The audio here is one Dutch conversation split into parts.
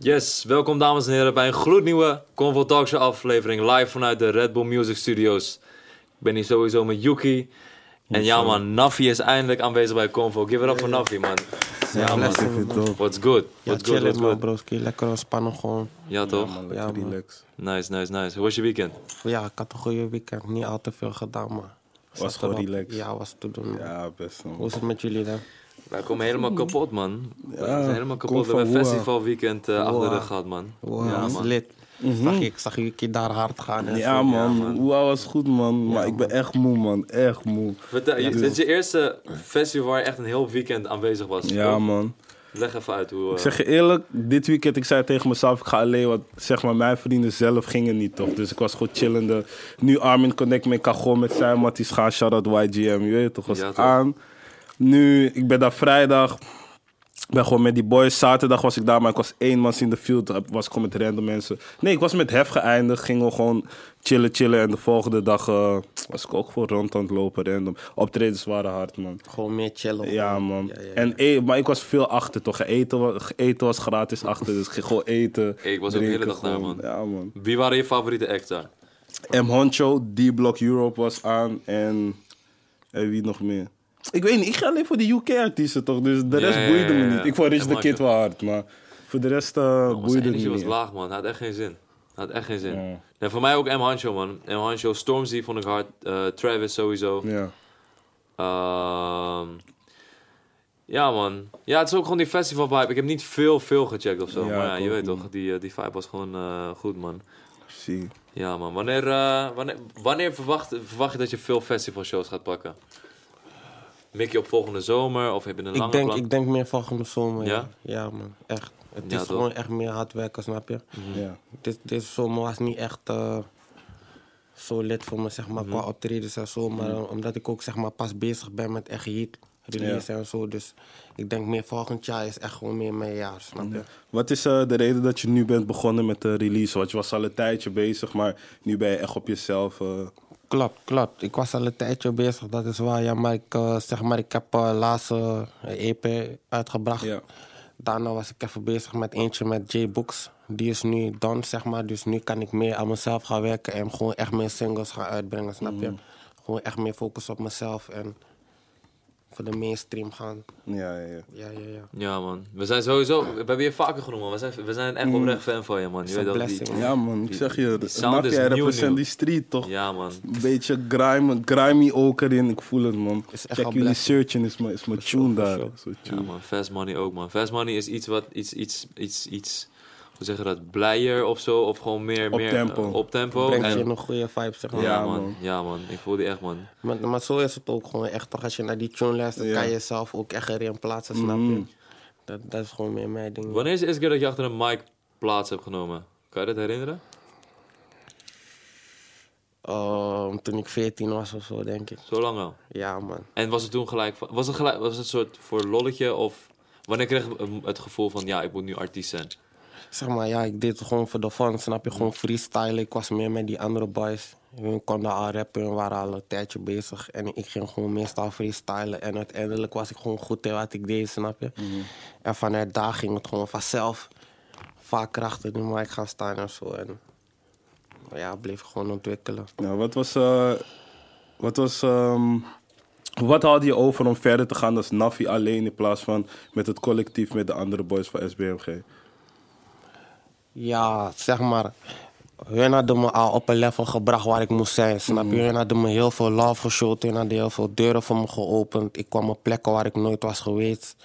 Yes, welkom dames en heren bij een gloednieuwe Convo Talk Show aflevering live vanuit de Red Bull Music Studios. Ik ben hier sowieso met Yuki. En ja man, Nafi is eindelijk aanwezig bij Convo. Give it up voor Nafi man. Ja man, Ik vind het dope. what's good? Ja, What's good, chill what's man, good? broski. Lekker ontspannen gewoon. Ja toch? Lekker Ja, man. relax. Nice, nice, nice. Hoe was je weekend? Ja, ik had een goede weekend. Niet al te veel gedaan, maar... Was gewoon relaxed. Ja, was te doen. man. Ja, best Hoe man. is het met jullie dan? Wij komen helemaal kapot man. We zijn helemaal kom kapot. We hebben van een Woa. festivalweekend eh, achter de Woa. rug gehad man. Wow, Ja eh, was man. lit. zag, je- ik zag jullie daar hard gaan. en Mhm. Ja zo. man, Oeh, was goed man. Maar ik ben echt moe man, echt moe. Vertel, je- dit is je eerste festival waar je echt een heel weekend aanwezig was. Ja toch? man. Leg even uit hoe... Ik eh, zeg je eerlijk, dit weekend ik zei tegen mezelf, ik ga alleen, want zeg maar mijn vrienden zelf gingen niet toch. Dus ik was gewoon chillende. Nu Armin Connect, maar ik kan gewoon met zijn matties gaan. Shout-out YGM, je weet toch, was Ja, toch. aan. Nu, ik ben daar vrijdag. Ik ben gewoon met die boys. Zaterdag was ik daar, maar ik was één man in de field. Was ik gewoon met random mensen. Nee, ik was met Hef geëindigd. Gingen we gewoon chillen, chillen. En de volgende dag eh, was ik ook gewoon rond aan het lopen, random. Optredens waren hard, man. Gewoon meer chillen. Ja, gewoon. man. Ja, ja, ja. En e- maar ik was veel achter, toch? Eten was, eten was gratis achter, dus ik ging gewoon eten. Ik was ook de hele dag daar, gewoon. man. Ja, man. Wie waren je favoriete acts daar? M. Honcho, D-Block Europe was aan en, en wie nog meer? Ik weet niet, ik ga alleen voor de UK-artiesten, toch? Dus de Ja, rest ja, ja, boeide me ja, ja. niet. Ik vond Rich En the Kid Michael. wel hard, maar voor de rest eh, Zijn boeide het energie me was niet. laag, man. Had echt geen zin. Had echt geen zin. Ja. Nee, voor mij ook M. Hancho, man. M. Hancho, Stormzy vond ik hard. eh, Travis sowieso. Ja. Ehm, ja, man. Ja, het is ook gewoon die festival vibe. Ik heb niet veel, veel gecheckt of zo. Ja, maar ja, ik je ook weet niet. toch, die, eh, die vibe was gewoon eh, goed, man. Zie. Ja, man. Wanneer, eh, wanneer, wanneer verwacht, verwacht je dat je veel festivalshows gaat pakken? Mik je op volgende zomer of heb je een lange ik, denk, plan? ik denk meer volgende zomer. Ja? Ja? Ja, man. Echt. Het Ja, is toch? gewoon echt meer hard werken, snap je? Hm. Ja. Dit, deze zomer was niet echt eh, zo lid voor me, zeg maar, qua optredens en zo. Maar eh, omdat ik ook, zeg maar, pas bezig ben met echt hit release en zo. Dus ik denk meer volgend jaar is echt gewoon meer mijn jaar, snap je? Wat is eh, de reden dat je nu bent begonnen met de release? Want je was al een tijdje bezig, maar nu ben je echt op jezelf. eh, Klopt, klopt. Ik was al een tijdje bezig, dat is waar. Ja, maar ik, eh, zeg maar, ik heb eh, laatst eh, een EP uitgebracht. Ja. Daarna was ik even bezig met eentje met J-Books. Die is nu done, zeg maar. Dus nu kan ik meer aan mezelf gaan werken en gewoon echt meer singles gaan uitbrengen, snap Mm. je? Gewoon echt meer focus op mezelf en voor de mainstream gaan. ja, ja, ja. Ja, ja, ja. Ja, man. We zijn sowieso... We hebben je vaker genoemd, man. We zijn, we zijn echt oprecht fan van je, man. Je It's a weet dat die... Mm. blessing, man. Ja man, ik zeg je, die sound is Mafia nieuw, nieuw. represent die street toch? Ja, man. Een beetje grime, grimy ook erin, ik voel het man. Is echt Check al jullie blessing. searchen, is mijn, is mijn tune daar. Is mijn Ja, tune. man. Fast money ook, man. Fast money is iets wat... Iets, iets, iets, iets... Hoe zeg je dat? Blijer of zo? Of gewoon meer... Op meer, tempo. eh, op tempo. Brengt En- je een goede vibe, zeg Ja, maar. Oh, Ja, man. man. Ja, man. Ik voel die echt, man. Maar, maar zo is het ook gewoon echt. Toch, als je naar die tune luistert, Ja. Mm. kan je jezelf ook echt erin plaatsen, snap je? Dat, dat is gewoon meer mijn ding. Wanneer is de eerste keer dat je achter een mic plaats hebt genomen? Kan je dat herinneren? Ehm, toen ik 14 was of zo, denk ik. Zo lang al. Ja, man. En was het toen gelijk... van- Was het, gelijk, was het een soort voor lolletje of... Wanneer kreeg je het gevoel van... Ja, ik moet nu artiest zijn? Zeg maar, ja, ik deed het gewoon voor de fun, snap je? Gewoon freestylen. Ik was meer met die andere boys. Hun konden al rappen, hun waren al een tijdje bezig. En ik ging gewoon meestal freestylen. En uiteindelijk was ik gewoon goed in wat ik deed, snap je? En vanuit daar ging het gewoon vanzelf. Vaak krachten in de mic gaan staan en zo. En ja, bleef ik gewoon ontwikkelen. Nou, wat was, eh, wat was, ehm, wat had je over om verder te gaan als Nafi alleen in plaats van met het collectief met de andere boys van SBMG? Ja, zeg maar. Hun hadden me al op een level gebracht waar ik moest zijn. Snap Mm. je? Hun hadden me heel veel love geshowt. Hun hadden heel veel deuren voor me geopend. Ik kwam op plekken waar ik nooit was geweest.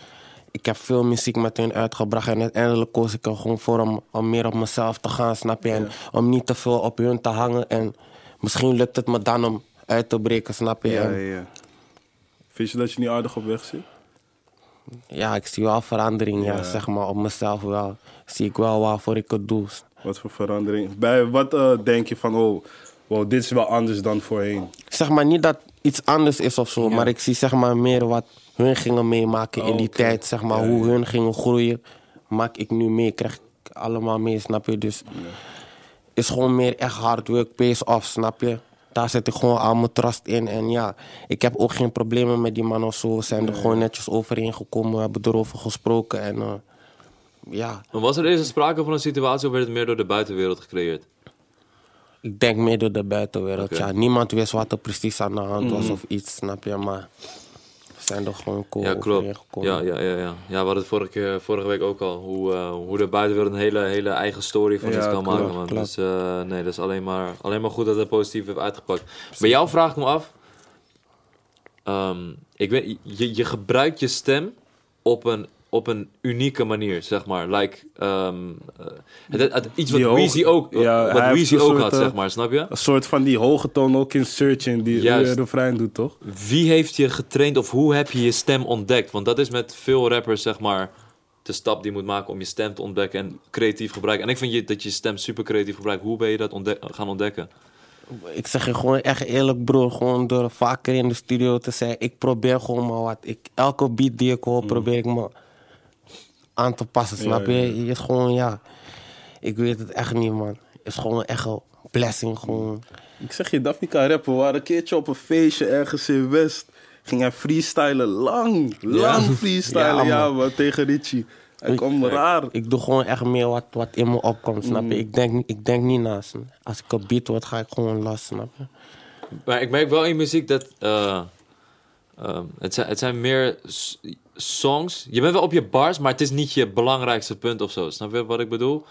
Ik heb veel muziek met hun uitgebracht. En uiteindelijk koos ik er gewoon voor om, om meer op mezelf te gaan, snap je? En om niet te veel op hun te hangen. En misschien lukt het me dan om uit te breken, snap je? En ja. Vind je dat je niet aardig op weg zit? ja, ik zie wel verandering, ja, Ja. zeg maar. Op mezelf wel. Zie ik wel waarvoor ik het doe. Wat voor verandering? Bij wat eh, denk je van, oh, wow, dit is wel anders dan voorheen? zeg maar niet dat iets anders is of zo, maar ik zie zeg maar meer wat hun gingen meemaken in die Oké. tijd, zeg maar hoe hun gingen groeien, maak ik nu mee, krijg ik allemaal mee, snap je? Dus is gewoon meer echt hard work pays off, snap je? Daar zet ik gewoon al mijn trust in. En ja, ik heb ook geen problemen met die man of zo. We zijn er gewoon netjes overheen gekomen. We hebben erover gesproken. En eh, ja, Maar was er eerst al sprake van een situatie of werd het meer door de buitenwereld gecreëerd? ik denk meer door de buitenwereld. Oké. Mhm. Ja, niemand wist wat er precies aan de hand was of iets, snap je? Maar we zijn er gewoon cool Ja, klopt. overeengekomen. Ja, ja, ja, ja. ja, we hadden het vorige, keer- vorige week ook al. Hoe, eh, hoe de buitenwereld een hele, hele eigen story van Ja, iets kan klopt, maken. Man. klopt. Dus eh, nee, dat is alleen maar, alleen maar goed dat het positief heeft uitgepakt. Bij jou vraag ik me af. ehm, ik weet, je, je gebruikt je stem op een, op een unieke manier, zeg maar. Like, ehm, eh, het, het- het- iets wat Die hoog- Weezy ook, ja, hij wat heeft Weezy een ook soort, had, eh, zeg maar. Snap je? Een soort van die hoge toon ook in Searching die Juist. de refrein doet, toch? Wie heeft je getraind of hoe heb je je stem ontdekt? Want dat is met veel rappers, zeg maar, de stap die je moet maken om je stem te ontdekken en creatief gebruiken. En ik vind je, dat je stem super creatief gebruikt. Hoe ben je dat ontdek- gaan ontdekken? Ik zeg je gewoon echt eerlijk, broer. Gewoon door vaker in de studio te zijn. Ik probeer gewoon maar wat. Ik, elke beat die ik hoor, Mhm. probeer ik me aan te passen. Snap je? ja, Je is gewoon, ja. Ik weet het echt niet, man. Het is gewoon echt een blessing. Gewoon. Ik zeg je, Daphne kan rappen. We waren een keertje op een feestje ergens in West. Ging hij freestylen, lang, lang freestylen. Ja, Ja, man. man, tegen Richie. Hij Ik- kwam raar. Ik doe gewoon echt meer wat, wat in me opkomt, snap Mhm. je? Ik denk, ik denk niet naast. Als ik een beat word, ga ik gewoon los, snap je? Maar ik merk wel in muziek dat. eh, ehm, het, zijn, het zijn meer s- songs. Je bent wel op je bars, maar het is niet je belangrijkste punt of zo. Snap je wat ik bedoel?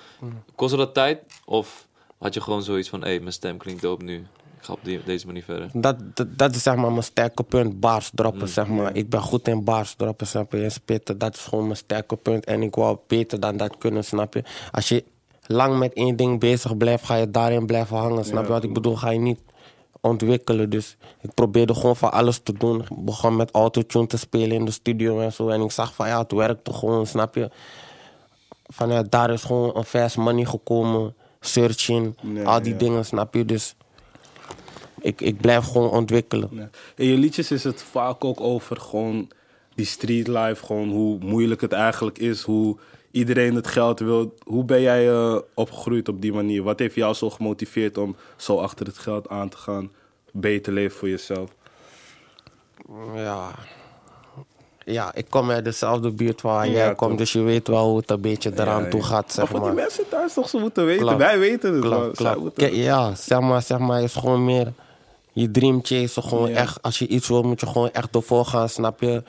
Kostte dat tijd? Of had je gewoon zoiets van: hé, hey, mijn stem klinkt dope nu. Ik ga op die- deze manier verder. Dat, dat, dat is zeg maar mijn sterke punt, bars droppen, Mm. zeg maar. Ik ben goed in bars droppen, snap je? En spitten, dat is gewoon mijn sterke punt. En ik wou beter dan dat kunnen, snap je? Als je lang met één ding bezig blijft, ga je daarin blijven hangen, snap je? Wat ik bedoel, ga je niet ontwikkelen. Dus ik probeerde gewoon van alles te doen. Ik begon met autotune te spelen in de studio en zo. En ik zag van, ja, het werkte gewoon, snap je? Vanuit daar is gewoon een vers money gekomen. Searching, Nee, al die ja. dingen, snap je? Dus... Ik, ik blijf gewoon ontwikkelen. Ja. In je liedjes is het vaak ook over gewoon die street life, gewoon hoe moeilijk het eigenlijk is, hoe iedereen het geld wil. Hoe ben jij eh, opgegroeid op die manier? Wat heeft jou zo gemotiveerd om zo achter het geld aan te gaan, beter leven voor jezelf? Ja. Ja, ik kom uit dezelfde buurt waar Ja, jij toch. komt, dus je weet wel hoe het een beetje eraan Ja, toe ja. gaat, Maar zeg voor maar. die mensen thuis toch, ze moeten weten. Klopt. Wij weten het. Klopt, maar zij klopt. moeten- Kijk, ja, zeg maar, zeg maar, is gewoon meer je dream chase. Gewoon Ja. echt, als je iets wil, moet je gewoon echt ervoor gaan, snap je?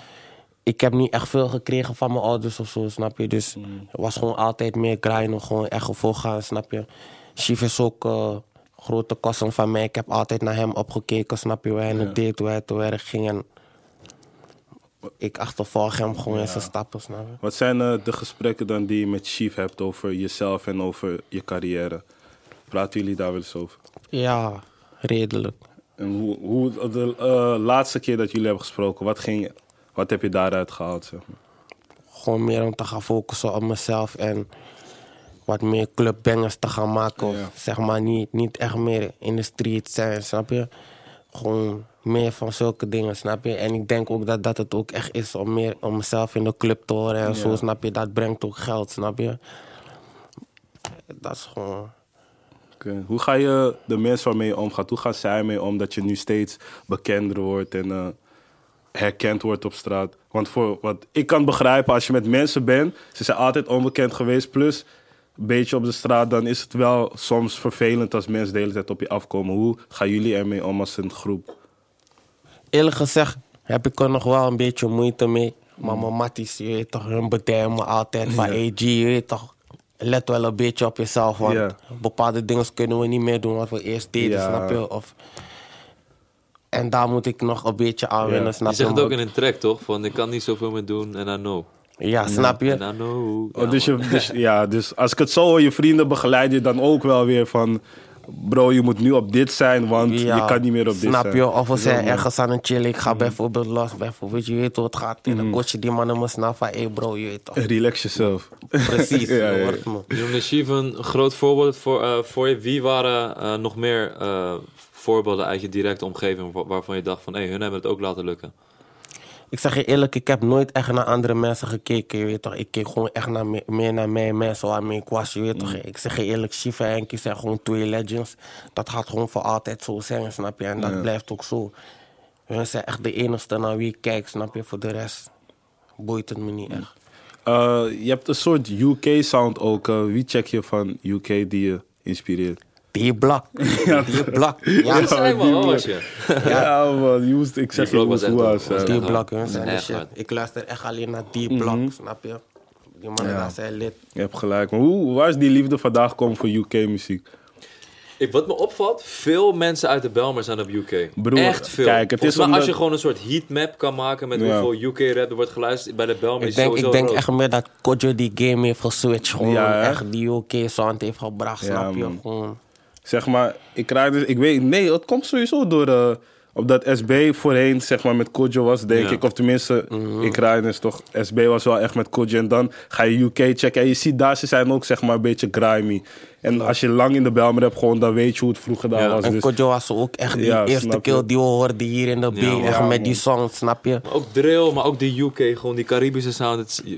Ik heb niet echt veel gekregen van mijn ouders of zo, snap je? Dus Mm. het was gewoon altijd meer grinden, gewoon echt ervoor gaan, snap je? Chief is ook eh, grote kosten van mij. Ik heb altijd naar hem opgekeken, snap je? Hoe hij het deed, hoe hij te werk ging. En ik achtervolg hem gewoon in zijn stappen, snap je? Wat zijn eh, de gesprekken dan die je met Chief hebt over jezelf en over je carrière? Praten jullie daar wel eens over? Ja, redelijk. En hoe, hoe de eh, laatste keer dat jullie hebben gesproken, wat, ging, wat heb je daaruit gehaald? Zeg maar? gewoon meer om te gaan focussen op mezelf en wat meer clubbangers te gaan maken. Of Ja. zeg maar niet, niet echt meer in de street zijn, snap je? Gewoon meer van zulke dingen, snap je? En ik denk ook dat dat het ook echt is om meer om mezelf in de club te horen en zo, snap je? Dat brengt ook geld, snap je? Dat is gewoon... Oké. Hoe ga je de mensen waarmee je omgaat, hoe gaan zij mee om dat je nu steeds bekender wordt en eh, herkend wordt op straat? Want voor wat ik kan begrijpen, als je met mensen bent, ze zijn altijd onbekend geweest, plus een beetje op de straat, dan is het wel soms vervelend als mensen de hele tijd op je afkomen. Hoe gaan jullie ermee om als een groep? Eerlijk gezegd heb ik er nog wel een beetje moeite mee. Mm. Maar mijn matties, je weet toch, hun bedijnen me altijd van... Hey G, je weet toch, let wel een beetje op jezelf. Want Ja. bepaalde dingen kunnen we niet meer doen wat we eerst deden, Ja. snap je? Of, en daar moet ik nog een beetje aan Ja. winnen, snap Je je? zegt het Maar- ook in een track, toch? Van ik kan niet zoveel meer doen en I know. Ja, snap je? En I know. Oh, Ja, dus, man. je, dus, ja, dus als ik het zo hoor, je vrienden begeleiden je dan ook wel weer van... Bro, je moet nu op dit zijn, want Ja, je kan niet meer op dit zijn. Snap je? Of we zijn ergens aan het chillen. Ik Mm. ga bijvoorbeeld los. Bijvoorbeeld, je weet hoe het gaat. En dan coach je die mannen me snap van... Hé bro, je weet toch. Relax jezelf. Precies, Ja, ja, ja. hoort me. Je noemde Chief een groot voorbeeld voor, eh, voor je. Wie waren eh, nog meer eh, voorbeelden uit je directe omgeving wa- waarvan je dacht van... hé, hey, hun hebben het ook laten lukken. Ik zeg je eerlijk, ik heb nooit echt naar andere mensen gekeken, je weet toch. Ik keek gewoon echt naar me- meer naar mijn mensen waarmee ik was, je weet toch. Ik zeg je eerlijk, Shiva en Henkie zijn gewoon twee legends. Dat gaat gewoon voor altijd zo zijn, snap je. En dat blijft ook zo. Hun zijn echt de enigste naar wie ik kijk, snap je. Voor de rest boeit het me niet echt. eh, je hebt een soort UK-sound ook. eh, wie check je van UK die je inspireert? Die blak. Die blak. Ja, Ja. Zeg maar, wat was je? Ja, man. Je moest, ik zeg Die je blok was moest echt hoe dope, als, was eh, echt die Ja, gewoon. blak, jongens. zijn de Echt, shit. man. Ik luister echt alleen naar die blak, snap je? Die mannen daar zijn lid. Je hebt gelijk. Maar hoe, waar is die liefde vandaag gekomen voor UK-muziek? Ik, wat me opvalt, veel mensen uit de Belmer zijn op UK. Broer, Echt veel. kijk, het Volgens is mij omdat- als je gewoon een soort heatmap kan maken met Ja. hoeveel UK-rap er wordt geluisterd bij de Belmer, Ik is denk, sowieso ik denk groot. echt meer dat Kojo die game heeft geswitcht. Gewoon Ja, hè? echt die OK-sound heeft gebracht, Ja, snap je? man. Gewoon. Zeg maar, ik raak dus, ik weet, nee, het komt sowieso door, eh, omdat SB voorheen, zeg maar, met Kojo was, denk Ja. Mhm. ik. Of tenminste, ik raak dus toch, SB was wel echt met Kojo. En dan ga je UK checken en je ziet daar, ze zijn ook, zeg maar, een beetje grimy. En als je lang in de Belmer hebt gewoon, dan weet je hoe het vroeger daar Ja. was. En Dus, Kojo was ook echt die Ja, snap eerste je. keer die we hoorden hier in de B. Ja, echt man. met die song, snap je? Maar ook drill, maar ook de UK, gewoon die Caribische sound. Het, is- je,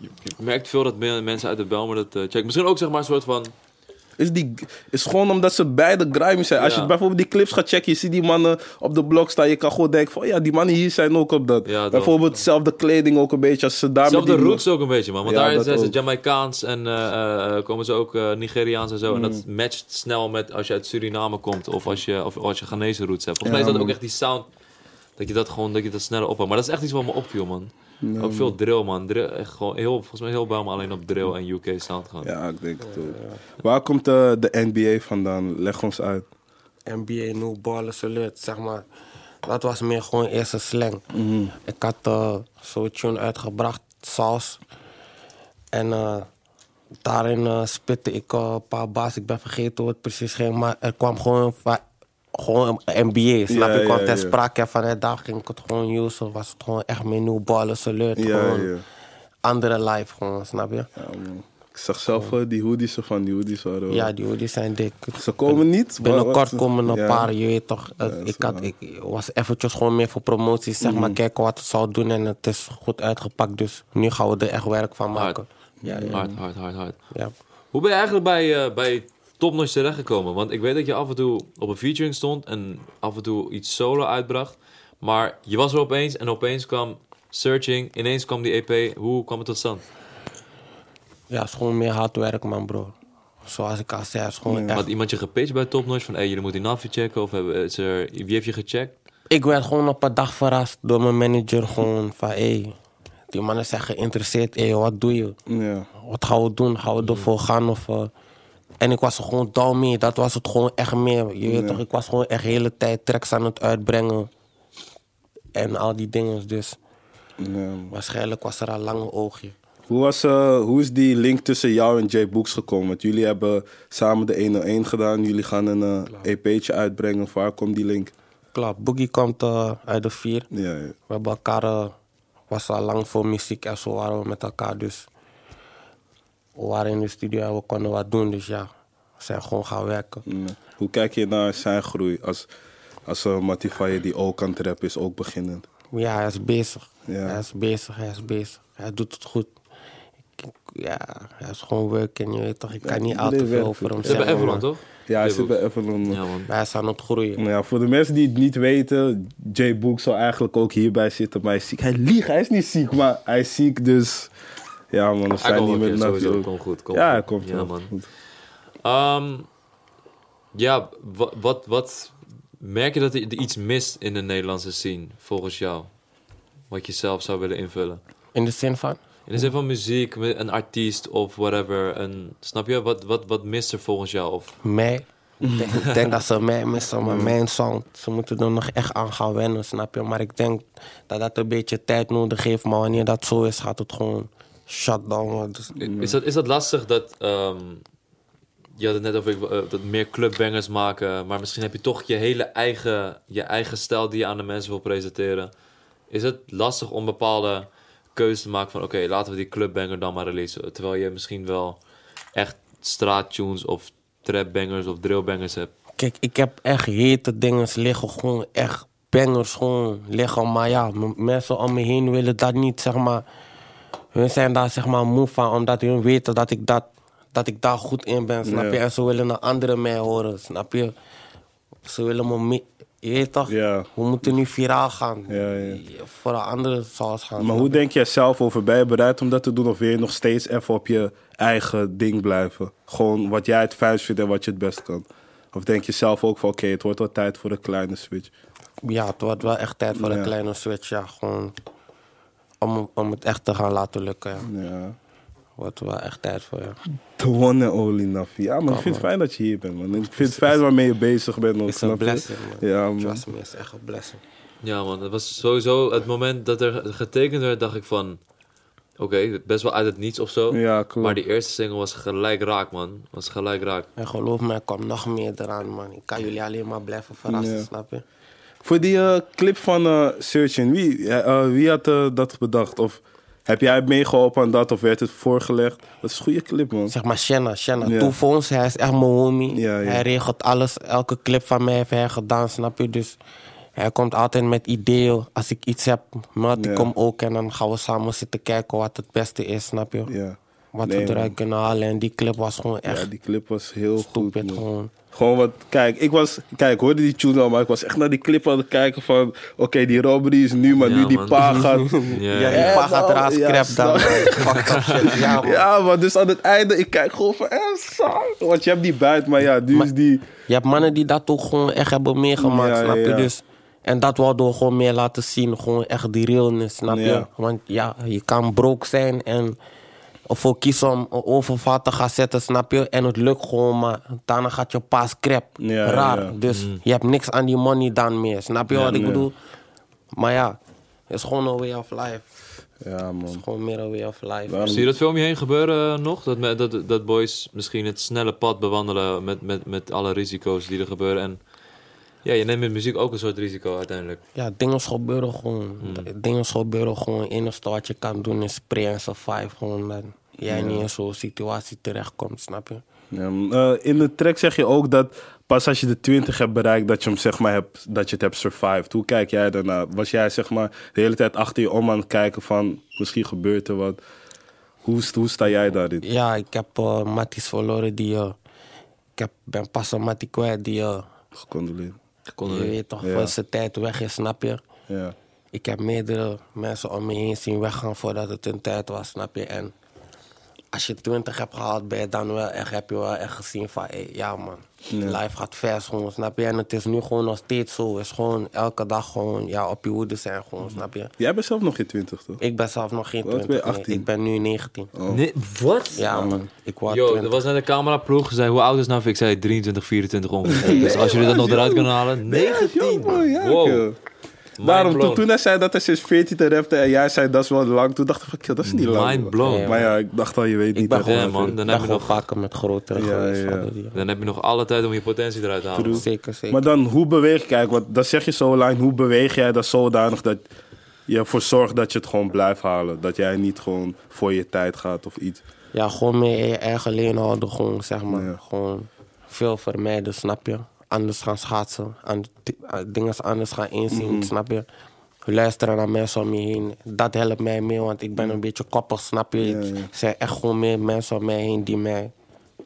je- je merkt veel dat men- mensen uit de Belmer dat eh, checken. Misschien ook zeg maar een soort van... Ah, is, die, is gewoon omdat ze beide grimy zijn. Als Ja. je bijvoorbeeld die clips gaat checken, je ziet die mannen op de blok staan. Je kan gewoon denken van, oh ja, die mannen hier zijn ook op dat. Ja, dat- bijvoorbeeld zelfde kleding ook een beetje. Als ze daar met Zelfde die- roots ook een beetje, man. Want Ja, daar dat zijn ze ook. Jamaicaans en eh, eh, komen ze ook eh, Nigeriaans en zo. En Mm. dat matcht snel met als je uit Suriname komt of als je, of als je Ghanese roots hebt. Volgens mij is dat man. ook echt die sound. Dat je dat gewoon, dat je dat sneller oppakt. Maar dat is echt iets wat me opviel, man. ook veel drill, man. Drill, echt gewoon heel, volgens mij heel bij me alleen op drill en UK sound gaan. Ja, ik denk het ook. Waar komt eh, de NBA vandaan? Leg ons uit. NBA New Baller Salute, zeg maar. Dat was meer gewoon eerste slang. Mhm. Ik had eh, zo'n tune uitgebracht, Saus. En eh, daarin eh, spitte ik eh, een paar baas. Ik ben vergeten hoe het precies ging, maar er kwam gewoon, va- gewoon een NBA. Snap Ja, je? kwam ja, ter ja. sprake en vanuit daar ging ik het gewoon usen. Was het gewoon echt meer New Baller Salute. Ja, gewoon ja. andere life gewoon, snap je? Ja, man. Ik zag zelf eh, die hoodies van die hoodies waren. wel- Ja, die, die zijn dik. Ze komen niet. maar Binnenkort wat- komen een Ja. paar, je weet toch. het- ik, had, ik was eventjes gewoon meer voor promoties, zeg Mhm. maar, kijken wat het zou doen. En het is goed uitgepakt, dus nu gaan we er echt werk van maken. Ja, ja, Hard, hard, hard, hard. ja. Hoe ben je eigenlijk bij, eh, bij Topnotch terechtgekomen? Want ik weet dat je af en toe op een featuring stond en af en toe iets solo uitbracht. Maar je was er opeens en opeens kwam Searching, ineens kwam die EP. Hoe kwam het tot stand? Ja, het is gewoon meer hard werk, man, bro. Zoals ik al zei, het is gewoon echt Had iemand je gepitcht bij Topnotch van, hey, jullie moeten die Navi checken? Of hebben, is er, wie heeft je gecheckt? Ik werd gewoon op een dag verrast door mijn manager, gewoon van, hey, die mannen zijn geïnteresseerd, hé, wat doe je? Ja. wat gaan we doen? Gaan we ervoor gaan? Of, eh, en ik was er gewoon down mee. Dat was het gewoon echt meer. Je weet toch, ik was gewoon echt de hele tijd tracks aan het uitbrengen. En al die dingen. Dus Ja, man. waarschijnlijk was er al lang een oogje. Hoe, was, eh, hoe is die link tussen jou en Jay Books gekomen? Want jullie hebben samen de 101 gedaan. Jullie gaan een eh EP'tje uitbrengen. Waar komt die link? Klopt, Boogie komt eh, uit de vier. Ja, ja. We hebben elkaar, eh, was al lang voor muziek en zo waren we met elkaar. Dus we waren in de studio en we konden wat doen. Dus ja, we zijn gewoon gaan werken. Ja. Mm. Hoe kijk je naar zijn groei als, als eh, Matifaye die ook aan het rappen is, ook beginnend? Ja, hij is bezig. Ja. Hij is bezig, hij is bezig. Hij doet het goed. Ik- ik- Ja, hij is gewoon werken, je weet toch. Ik kan niet al te iedereen veel werkt over hem Ze hebben zeggen. Avalon, maar toch? Ja, hij Jay zit Books. bij Avalon. Ja, man. Hij is aan het groeien. Nou ja, voor de mensen die het niet weten, Jay Book zal eigenlijk ook hierbij zitten, maar hij is ziek. Hij liegt, hij is niet ziek, maar hij is ziek, dus... Ja man, we Hij zijn komt niet wel een met keer, sowieso. natuurlijk. Komt goed, komt Ja, goed. hij komt Ja, wel man. goed. Ehm, ja, wa- wat, wat merk je dat er iets mist in de Nederlandse scene, volgens jou? Wat je zelf zou willen invullen? In de zin van? In de zin van muziek, mu- een artiest of whatever. En, snap je? Wat, wat, wat mist er volgens jou? Of, Mij. Ik denk- ik denk dat ze mij missen, maar mijn song. Ze moeten er nog echt aan gaan wennen, snap je? Maar ik denk dat dat een beetje tijd nodig heeft. Maar wanneer dat zo is, gaat het gewoon shutdown worden. Dus is, dat, is dat lastig dat... ehm, je had het net over eh, dat meer clubbangers maken. Maar misschien heb je toch je hele eigen, je eigen stijl die je aan de mensen wil presenteren. Is het lastig om bepaalde keuzes te maken van... Oké, laten we die clubbanger dan maar releasen. Terwijl je misschien wel echt straattunes of trapbangers of drillbangers hebt. Kijk, ik heb echt hete dingen liggen, gewoon echt bangers gewoon liggen. Maar ja, m- mensen om me heen willen dat niet, zeg maar. Hun zijn daar zeg maar moe van, omdat hun weten dat ik, dat, dat ik daar goed in ben, snap je? Ja. En ze willen naar anderen mij horen, snap je? Ze willen me mee- Je weet toch? Ja. We moeten nu viraal gaan. Ja, ja. Voor een andere saus gaan. Maar hoe denk jij zelf over? Ben je bereid om dat te doen of wil je nog steeds even op je eigen ding blijven? Gewoon wat jij het fijnst vindt en wat je het best kan. Of denk je zelf ook van oké, het wordt wel tijd voor een kleine switch. Ja, het wordt wel echt tijd voor Ja. een kleine switch. Ja, gewoon om, om het echt te gaan laten lukken. Ja. Ja. Wordt wel echt tijd voor, ja. The one and only Nafi. Ja, man, ik vind het fijn dat je hier bent, man. Ik vind het fijn waarmee je bezig bent. ook, Is snap een je? blessing, man. Ja, man. Trust me, is echt een blessing. Ja, man, het was sowieso het moment dat er getekend werd, dacht ik van. Oké, best wel uit het niets of zo. Ja, klopt. Maar die eerste single was gelijk raak, man. Was gelijk raak. En geloof me, er komt nog meer eraan, man. Ik kan jullie alleen maar blijven verrassen, Ja. snap je? Voor die eh, clip van eh Searching, wie, eh, eh, wie had eh, dat bedacht? Of heb jij meegeholpen aan dat of werd het voorgelegd? Dat is een goede clip, man. Zeg maar Shanna, Shanna. Ja. Two Phones, hij is echt mijn homie. Ja, ja. Hij regelt alles. Elke clip van mij heeft hij gedaan, snap je? Dus hij komt altijd met ideeën. Als ik iets heb, meld ik Ja. hem ook. En dan gaan we samen zitten kijken wat het beste is, snap je? Ja. Wat Nee, we man. eruit kunnen halen. En die clip was gewoon echt Ja, die clip was heel stupid, goed. man. gewoon. Gewoon wat, kijk, ik was, kijk, ik hoorde die tune al, maar ik was echt naar die clip aan het kijken van, oké, die robbery is nu, maar Ja, nu die man. pa gaat. Ja, Ja, ja. die pa gaat man. raas Ja, crap dan. snap Fuck up shit. Ja, man. Ja, man, dus aan het einde, ik kijk gewoon van, eh, saai. Want je hebt die buit, maar ja, nu is die. Je hebt mannen die dat ook gewoon echt hebben meegemaakt, Ja, snap je? ja, ja. Dus, en dat wilden we gewoon meer laten zien. Gewoon echt die realness, snap je? Ja. Want ja, je kan broke zijn en ervoor kiezen om een overvat te gaan zetten, snap je? En het lukt gewoon, maar daarna gaat je paas crap. Ja, ja, Raar. ja. Dus je hebt niks aan die money dan meer, snap je wat ik nee. bedoel? Maar ja, het is gewoon een way of life. Ja, Het man. is gewoon meer een way of life. Waarom- Zie je dat veel om je heen gebeuren eh, nog? Dat, me- dat, dat boys misschien het snelle pad bewandelen met, met, met alle risico's die er gebeuren. En ja, je neemt met muziek ook een soort risico uiteindelijk. Ja, dingen gebeuren gewoon. Dingen gebeuren gewoon. Het enige wat je kan doen is spray en survive. Gewoon dat jij niet in zo'n situatie terechtkomt, snap je? Ja, man. Eh, in de track zeg je ook dat pas als je de 20 hebt bereikt, dat je hem zeg maar hebt, dat je het hebt survived. Hoe kijk jij daarna? Was jij zeg maar de hele tijd achter je om aan het kijken van, misschien gebeurt er wat. Hoe, st- hoe sta jij daarin? Ja, ik heb eh matties verloren die... eh, ik heb, ben pas een mattie kwijt die... eh, Gecondoleerd. je weet toch, Ja. voor zijn tijd weg is, snap je? Ja. Ik heb meerdere mensen om me heen zien weggaan voordat het hun tijd was, snap je? En als je 20 hebt gehaald, ben je dan wel echt, heb je wel echt gezien van, hey, ja man, life gaat vers gewoon, snap je? En het is nu gewoon nog steeds zo. Het is gewoon elke dag gewoon, ja, op je hoede zijn gewoon, snap je? Jij bent zelf nog geen 20, toch? Ik ben zelf nog geen Hoe oud 20. ben je? Oh, nee. 18? ik ben nu 19. Nee, wat? Ja man, ik word Yo, 20. er was naar de cameraploeg gezegd, hoe oud is nou? Ik zei 23, 24 ongeveer. dus als jullie dat nog eruit kunnen halen, 19 man. Ja, Wow. joh. Mind Daarom, toen, blown. toen hij zei dat hij sinds 14 te rapte en jij zei dat is wel lang, toen dacht ik van, "Kill, dat is niet lang. Mind man." blown. Maar ja, ik dacht al, je weet ik niet ben echt. Ja, gewoon, man, dan ik ben heb je gewoon nog- vaker met grotere Ja, geweest. ja. hadden die. Dan heb je nog alle tijd om je potentie eruit te halen. man. Zeker, zeker. Maar dan, hoe beweeg Kijk, want dat zeg je zo lang, hoe beweeg jij dat zodanig dat je ervoor zorgt dat je het gewoon blijft halen? Dat jij niet gewoon voor je tijd gaat of iets. Ja, gewoon meer in je eigen leen houden, gewoon zeg maar. Ja. Gewoon veel vermijden, snap je? Anders gaan schaatsen, aan, dingen anders gaan inzien, Mm-hmm. snap je? Luisteren naar mensen om je heen. Dat helpt mij mee, want ik ben een beetje koppig, snap je? Ja, Het ja. zijn echt gewoon meer mensen om mij heen die mij...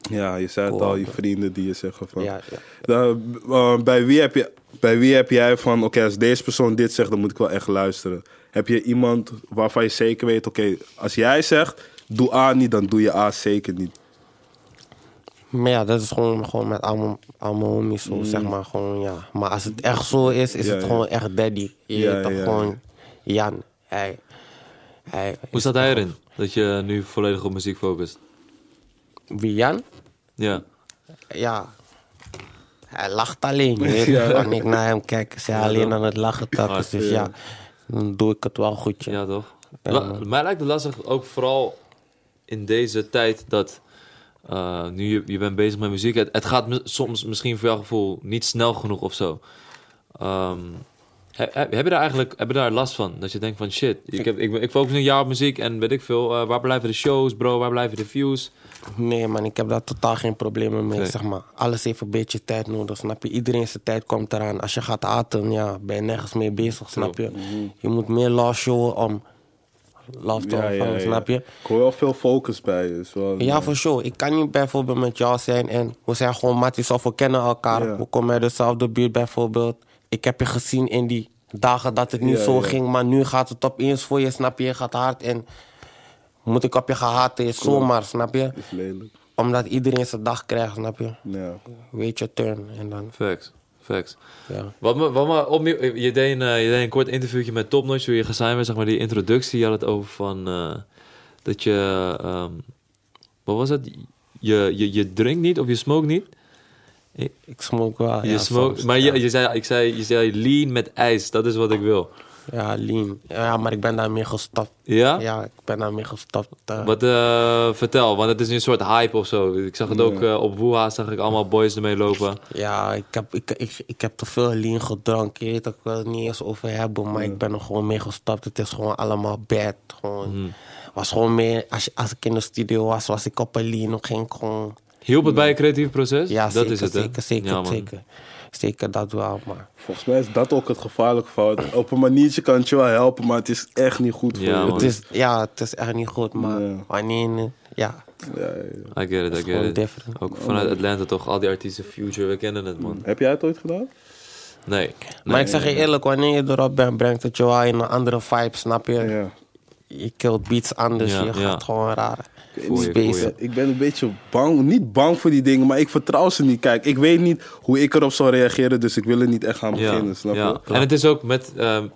Ja, je zei het al, je vrienden die je zeggen van... Ja, ja. Nou, eh, bij, wie heb je, bij wie heb jij van, oké, als deze persoon dit zegt, dan moet ik wel echt luisteren. Heb je iemand waarvan je zeker weet, oké, als jij zegt, doe A niet, dan doe je A zeker niet. Maar ja, dat is gewoon, gewoon met al mijn- al mijn homies, zo, zeg maar. Gewoon, ja. Maar als het echt zo is, is Mm. Ja, het ja. gewoon echt daddy. Je Ja, weet toch ja, ja. gewoon... Jan, hij... hij Hoe staat hij erin? Dat je nu volledig op muziek focust. Wie Jan? Ja. Ja. Hij lacht alleen. je weet toch? Kan ik naar hem kijken? Ze alleen aan het lachen telkens. Dus ja, dan doe ik het wel goed. Ja. Ja, toch? La- mij lijkt het lastig ook vooral in deze tijd dat eh, nu je, je bent bezig met muziek. Het, het gaat mi- soms misschien voor jouw gevoel niet snel genoeg of zo. Ehm, he- he- heb je daar eigenlijk heb je daar last van? Dat je denkt van shit, ik, heb, ik, ben- ik focus een jaar op muziek en weet ik veel. eh, waar blijven de shows, bro? Waar blijven de views? Nee man, ik heb daar totaal geen problemen mee. Nee. Zeg maar. Alles heeft een beetje tijd nodig, snap je? Iedereen zijn tijd komt eraan. Als je gaat aten, ja, ben je nergens mee bezig, snap je? Je moet meer love showen om love te ontvangen, snap je? Ik hoor wel veel focus bij je. is wel- Ja, voor sure. Ik kan niet bijvoorbeeld met jou zijn en we zijn gewoon matties of we kennen elkaar. Ja. We komen uit dezelfde buurt bijvoorbeeld. ik heb je gezien in die dagen dat het niet Ja, zo ja. ging. Maar nu gaat het opeens voor je, snap je? Je gaat hard en moet ik op je gehaat is zomaar, snap je? Is lelijk. Omdat iedereen zijn dag krijgt, snap je? Ja. Weet je turn en dan, Facts. Facts. ja. Wat me, wat me opnieuw, je, deed een, eh, je deed een kort interviewtje met Topnotch, hoe je gezien bent, zeg maar die introductie. Je had het over van eh, dat je, ehm, wat was het? Je, je, je drinkt niet of je smoke niet. Ik smoke wel. je Ah, ja, smoke, soms, maar ja. je, je, zei, ik zei, je zei lean met ijs, dat is wat ik wil. Ja, lean. Ja, maar ik ben daarmee gestopt. Ja? Ja, ik ben daarmee gestopt. eh. Wat eh, vertel, want het is nu een soort hype of zo. Ik zag het ook eh, op Woeha, zag ik allemaal boys ermee lopen. Ja, ik heb, ik, ik, ik heb te veel lean gedronken. Je weet, dat ik wil het niet eens over hebben, maar Mm. ik ben er gewoon mee gestapt. Het is gewoon allemaal bad. Gewoon, Mm. was gewoon meer, als, je- als ik in de studio was, was ik op een lean. Dan ging ik gewoon... Hielp het bij je creatief proces? Ja, dat zeker, is het, hè? zeker, zeker, Ja, man. zeker. Zeker dat wel, maar... Volgens mij is dat ook het gevaarlijke fout. Op een maniertje kan het je wel helpen, maar het is echt niet goed voor Ja, je. man. Het is, ja, het is echt niet goed, maar Nee. wanneer... Ja, Ja, ja, ja. I get it, I gewoon get it. different. Ook vanuit Atlanta toch, al die artiesten, Future, we kennen het, man. Heb jij het ooit gedaan? Nee. maar ik zeg je eerlijk, wanneer je erop bent, brengt het je wel in een andere vibe, snap je? Ja. Je killt beats anders, Ja, je gaat ja. gewoon raar. Voel je, space. voel je. Ik ben een beetje bang, niet bang voor die dingen, maar ik vertrouw ze niet. Kijk, ik weet niet hoe ik erop zou reageren, dus ik wil er niet echt aan Ja, beginnen, snap ja. je? En het is ook met ehm,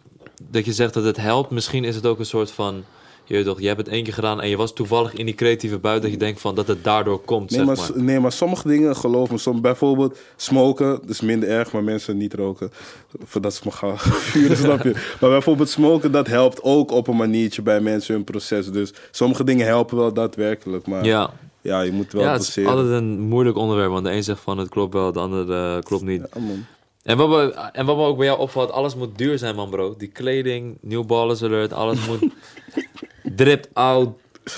dat je zegt dat het helpt. Misschien is het ook een soort van. Je, weet toch, je hebt het één keer gedaan en je was toevallig in die creatieve bui dat je denkt van dat het daardoor komt. Nee zeg maar, maar. s- nee, maar sommige dingen, geloof me, som, bijvoorbeeld smoken, dat is minder erg, maar mensen niet roken, voordat ze me gaan vuren, snap je? Maar bijvoorbeeld smoken, dat helpt ook op een maniertje bij mensen hun proces. Dus sommige dingen helpen wel daadwerkelijk, maar ja, ja. je moet wel ja, het is doseren. altijd een moeilijk onderwerp. Want de een zegt van het klopt wel, de ander eh, klopt niet. Ja, man. En wat, me, en wat me ook bij jou opvalt, alles moet duur zijn, man, bro. Die kleding, New Balance Alert, alles moet dripped out,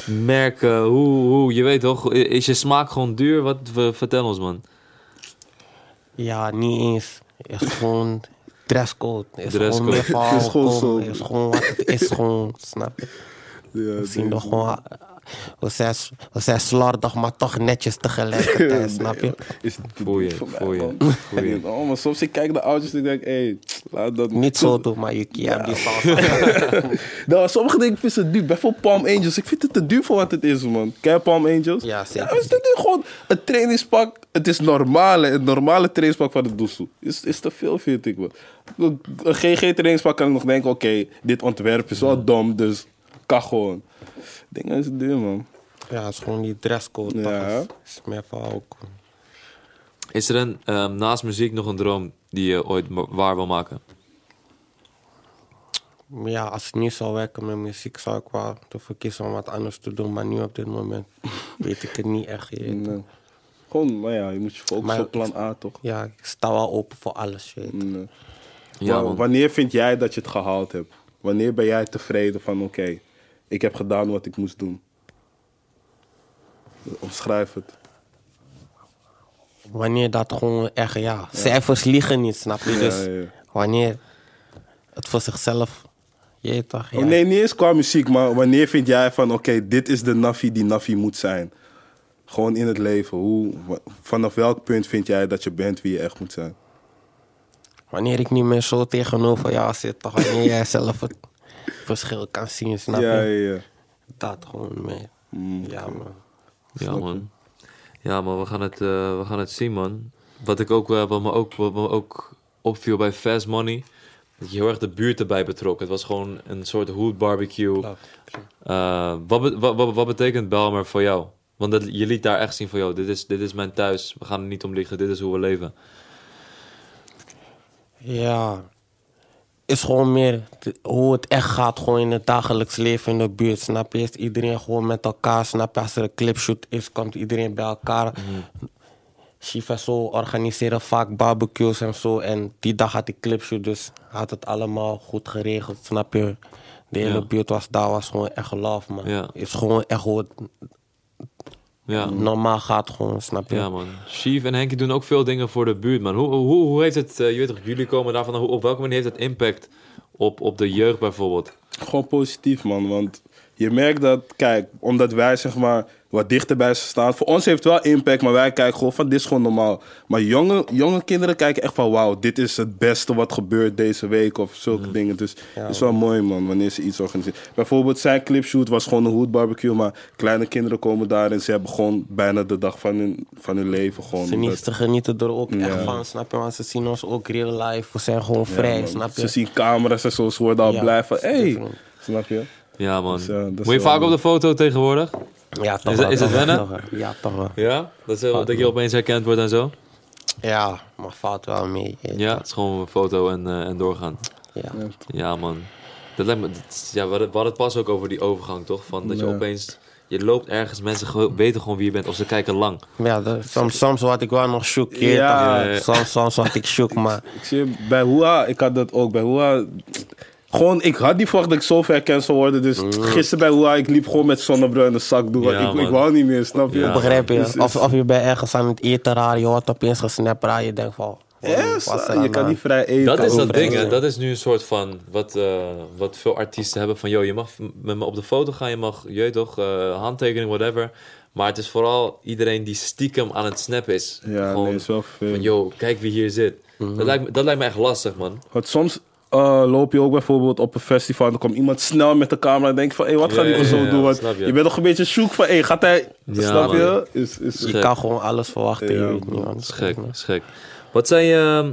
merken, hoe, hoe, je weet toch? Is je smaak gewoon duur? Wat, vertel ons, man. Ja, niet eens. Het is gewoon dresscode. Het is Dresscode. gewoon meer van Het is gewoon alcohol. zo. Het is gewoon wat het is gewoon, snap je? Ja, We nee. zien toch gewoon... We zijn, we zijn slordig, maar toch netjes tegelijkertijd, snap je? Is het Voel je, voor mij, voel je, man. voel je. Oh, maar soms ik kijk naar oudjes en ik denk, hé, hey, laat dat Niet zo doen, maar je je hebt die saus. Nou, sommige dingen vind ik te duur. Bijvoorbeeld Palm Angels. Ik vind het te duur voor wat het is, man. Ken je Palm Angels? Ja, zeker. maar is dit nu gewoon een trainingspak? Het is normale, het normale trainingspak van de Doezel. Is, is te veel, vind ik, man. Een GG-trainingspak kan ik nog denken, oké, dit ontwerp is wel dom, dus kan gewoon. Dingen is duur, man. Ja, het is gewoon die dresscode. Ja. Ja. Het is meer van alcohol. Is er een, ehm, naast muziek nog een droom die je ooit ma- waar wil maken? Maar Ja, als ik niet zou werken met muziek, zou ik wel ervoor kiezen om wat anders te doen. Maar nu op dit moment weet ik het niet echt. je weet. Nee. Gewoon, maar ja, je moet je focussen Maar- op plan A, toch? Ja, ik sta wel open voor alles, je weet. Nee. Ja, eh, Wa- man. Wanneer vind jij dat je het gehaald hebt? Wanneer ben jij tevreden van oké, ik heb gedaan wat ik moest doen? Omschrijf het. Wanneer dat gewoon echt, ja, cijfers liegen niet, snap je? Ja, dus ja. wanneer het voor zichzelf, je weet toch? Ja, Oh, nee, niet eens qua muziek, maar wanneer vind jij van oké, dit is de Nafi die Nafi moet zijn? Gewoon in het leven. Hoe, wa- vanaf welk punt vind jij dat je bent wie je echt moet zijn? Wanneer ik niet meer zo tegenover jou zit, toch? Wanneer jij zelf het verschil kan zien, snap je? Ja, ja, Mm, ja. Dat gewoon mee. ja, man. Ja, man. Ja, man, we gaan het, eh, we gaan het zien, man. Wat, ik ook, eh, wat, me ook, wat me ook opviel bij Fast Money, dat je heel erg de buurt erbij betrok. Het was gewoon een soort hood barbecue. Eh, wat, be- wat, wat, wat betekent Belmer voor jou? Want dat, je liet daar echt zien van, jou. dit is, dit is mijn thuis. We gaan er niet om liggen. Dit is hoe we leven. Ja. Is gewoon meer t- hoe het echt gaat, gewoon in het dagelijks leven in de buurt. Snap je? Is iedereen gewoon met elkaar. Snap je? Als er een clipshoot is, komt iedereen bij elkaar. Mhm. Shiva zo organiseren vaak barbecues en zo. En die dag had die clipshoot, dus had het allemaal goed geregeld. Snap je? De hele Ja. buurt was daar, was gewoon echt love, man. Ja. Mhm. Is gewoon echt hoe het Ja, normaal gaat, gewoon, snap je? ja man. Chief en Henkie doen ook veel dingen voor de buurt, man. Hoe, hoe, hoe heeft het, eh, je weet toch, jullie komen daarvan, hoe, op welke manier heeft het impact op, op de jeugd bijvoorbeeld? Gewoon positief, man. Want je merkt dat, kijk, omdat wij zeg maar wat dichterbij staan. Voor ons heeft het wel impact, maar wij kijken gewoon van dit is gewoon normaal. Maar jonge, jonge kinderen kijken echt van wauw, dit is het beste wat gebeurt deze week of zulke Mm. dingen. Dus het is wel mooi man, wanneer ze iets organiseren. Bijvoorbeeld zijn clipshoot was gewoon een hood barbecue, maar kleine kinderen komen daar en ze hebben gewoon bijna de dag van hun, van hun leven gewoon. Ze niet omdat- te genieten er ook Ja. echt van, snap je? Want ze zien ons ook real life. We zijn gewoon Ja, vrij, man. snap je? Ze zien camera's en zo, ze worden al Ja, blij van dat is hey. different. Snap je? Ja, man. Dus, eh, dat is Moet je wel- vaak op de foto tegenwoordig? Ja, toch Is het- wel, is toch het wel, wennen? toch wel. Ja, toch wel. Ja? Dat, is, heel- dat je opeens herkend wordt en zo? Ja, maar valt wel mee. eh, Ja, het is gewoon een foto en, eh, en doorgaan. ja. Ja, man. Dat lijkt me, dat is- ja, we hadden we hadden het pas ook over die overgang, toch? Van dat je Ja. opeens... Je loopt ergens, mensen ge- weten gewoon wie je bent. Of ze kijken lang. Ja, dat- soms, soms word ik wel nog shook. je weet Ja. toch? Ja, ja. Soms, soms word ik shook, maar Ik zie bij Hoa, ik had dat ook bij Hoa. Gewoon, ik had niet verwacht dat ik zo verkend zou worden. Dus gisteren bij Hoa, ik liep gewoon met zonnebril in de zak. Doe, wat Ja, ik, ik man. wou niet meer, snap je? Ja. begrijp Dus- je? Of, of je bent ergens aan het eten raar, je wordt opeens gesnapt raar, je denkt van... Yes, je kan niet niet vrij eten. Dat is dat overal. ding, hè. Dat is nu een soort van... Wat, eh, wat veel artiesten hebben van... joh, je mag met me op de foto gaan. Je mag, je weet toch, eh, handtekening, whatever. Maar het is vooral iedereen die stiekem aan het snap is. Ja, gewoon nee, is wel veel. van, joh, kijk wie hier zit. dat, lijkt me, dat lijkt me echt lastig, man. Want soms eh, loop je ook bijvoorbeeld op een festival en dan komt iemand snel met de camera en denk van, hé, wat gaat Ja, die ja, persoon ja, doen? Want snap je. je. bent nog een beetje zoek van, hé, gaat hij... Ja, snap man. je? Is, is, Je kan gewoon alles verwachten, Ja, je weet niet, man. Dat is gek, dat is gek. Wat zijn je eh,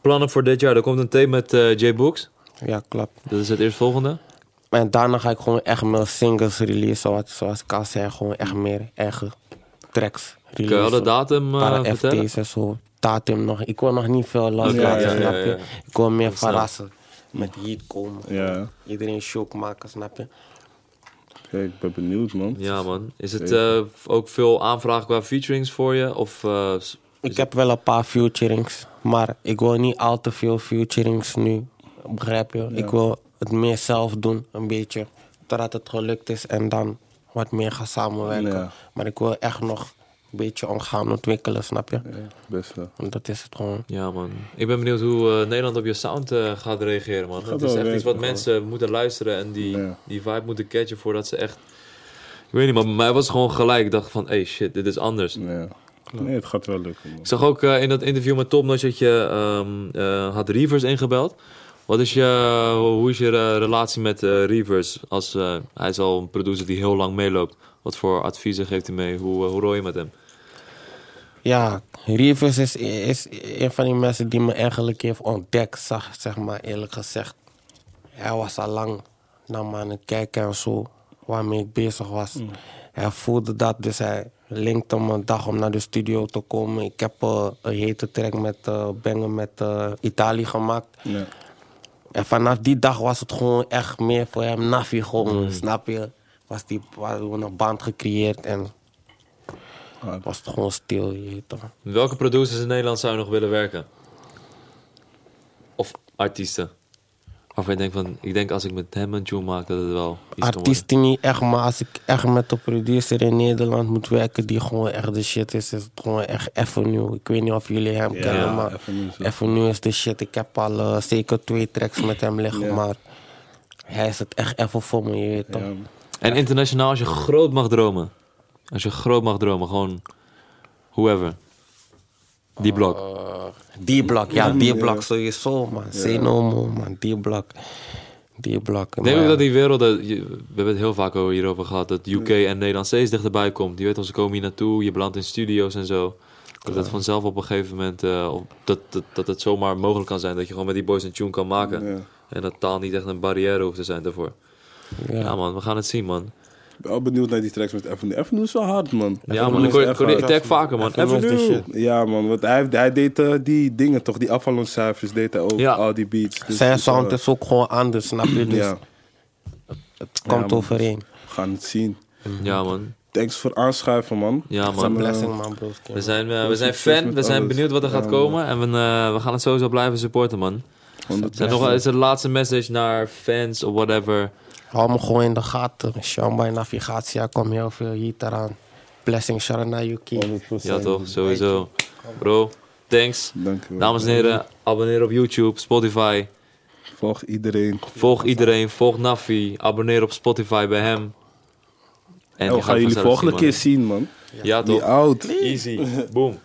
plannen voor dit jaar? Er komt een tape met eh Jay Books. Ja, klopt. Dat is het eerstvolgende. En daarna ga ik gewoon echt meer singles releasen, wat, zoals ik al zei, gewoon echt meer eigen tracks Kun je al de releasen. datum eh, Para vertellen? FT's en zo. Datum nog, ik wil nog niet veel loslaten, Ja, ja, ja, snap ja, je? ja. Ik wil meer snap. verrassen. Met heat komen. Ja, Iedereen shock maken, snap je? Oké, ik ben benieuwd, man. Ja, man. Is het Zeker. eh, ook veel aanvragen qua featurings voor je? Of eh, s- Dus- Ik heb wel een paar futurings, maar ik wil niet al te veel futurings nu. Begrijp je? Ik wil het meer zelf doen, een beetje. Totdat het gelukt is en dan wat meer gaan samenwerken. Ja. Maar ik wil echt nog een beetje om gaan ontwikkelen, snap je? Ja, Best wel. Want dat is het gewoon. Ja, man. Ik ben benieuwd hoe eh, Nederland op je sound eh, gaat reageren, man. Het wel is echt werken, iets wat gewoon. mensen moeten luisteren en die, Ja. die vibe moeten catchen voordat ze echt... Ik weet niet, maar bij mij was het gewoon gelijk. Ik dacht van, hey shit, dit is anders. Ja. Nee, het gaat wel lukken, man. Ik zag ook eh, in dat interview met Tom Notch dat je ehm, eh, had Reavers ingebeld. Wat is je, hoe is je eh, relatie met eh, Reavers? Als, eh, hij is al een producer die heel lang meeloopt. Wat voor adviezen geeft hij mee? Hoe, eh, hoe rol je met hem? Ja, Rivers is, is een van die mensen die me eigenlijk heeft ontdekt, zeg, zeg maar eerlijk gezegd. Hij was al lang naar me aan het kijken en zo, waarmee ik bezig was. Hij voelde dat, dus hij linkte me een dag om naar de studio te komen. Ik heb eh, een hete track met eh Bengen met eh, Italië gemaakt. Ja. En vanaf die dag was het gewoon echt meer voor hem Nafi gewoon, snap je? Was die, we hadden een band gecreëerd en Ah, was het gewoon stil, je weet toch? Met welke producers in Nederland zou je nog willen werken? Of artiesten? Of ik denk van, ik denk als ik met hem een tune maak dat het wel iets kan worden. Artiesten niet echt, maar als ik echt met een producer in Nederland moet werken die gewoon echt de shit is, is het gewoon echt Avenue. Ik weet niet of jullie hem kennen, maar Avenue is- Avenue is de shit. Ik heb al eh, zeker twee tracks met hem liggen, Ja. maar hij is het echt even voor me, je weet toch? ja, man. En internationaal als je groot mag dromen. Als je groot mag dromen, gewoon whoever. Die blok. Die blok, Eh, ja, die Ja. blok sowieso, man. Say no more, man. Die blok. Die blok. Ik denk maar- ook dat die werelden, je- we hebben het heel vaak over hierover gehad, dat UK en Nederland steeds dichterbij komt. Je weet al, ze komen hier naartoe, je belandt in studio's en zo. Dat het vanzelf op een gegeven moment, eh, op- dat, dat, dat het zomaar mogelijk kan zijn dat je gewoon met die boys een tune kan maken. Ja. En dat taal niet echt een barrière hoeft te zijn daarvoor. Ja, man, we gaan het zien man. Ik ben wel benieuwd naar die tracks met Avenue. Avenue is wel hard, man. Ja man, ik hoor- ik hoor die attack vaker man. Even- Avenue is de Avenue. Ja, man. Want hij, hij deed eh, die dingen toch, die Avalon cijfers deed hij ook, Ja. al die beats. Dus Zijn het is, sound eh, is ook gewoon anders, snap je? Dus Ja, het komt man. overeen. we gaan het zien. Ja man. Thanks voor aanschuiven, man. Ja, Echt man. een, eh, Blessing, man, bro. We zijn, eh, we Veel zijn succes fan, met we zijn alles. benieuwd wat er Ja, gaat man. komen. En we, eh, we gaan het sowieso blijven supporten, man. Is er nog, is er de laatste message naar fans of whatever? Hou me gewoon in de gaten. Shamba en Navigatie, er komt heel veel hier eraan. Blessing, Sharana Yuki. 100%. Ja, toch? Sowieso. Bro, thanks. Dank je wel. Dames en heren, abonneer op YouTube, Spotify. Volg iedereen. Volg iedereen, volg Nafi. Abonneer op Spotify bij hem. En En we Oh, gaan jullie volgende keer zien, man. Ja, Die toch? oud. Easy. Boom.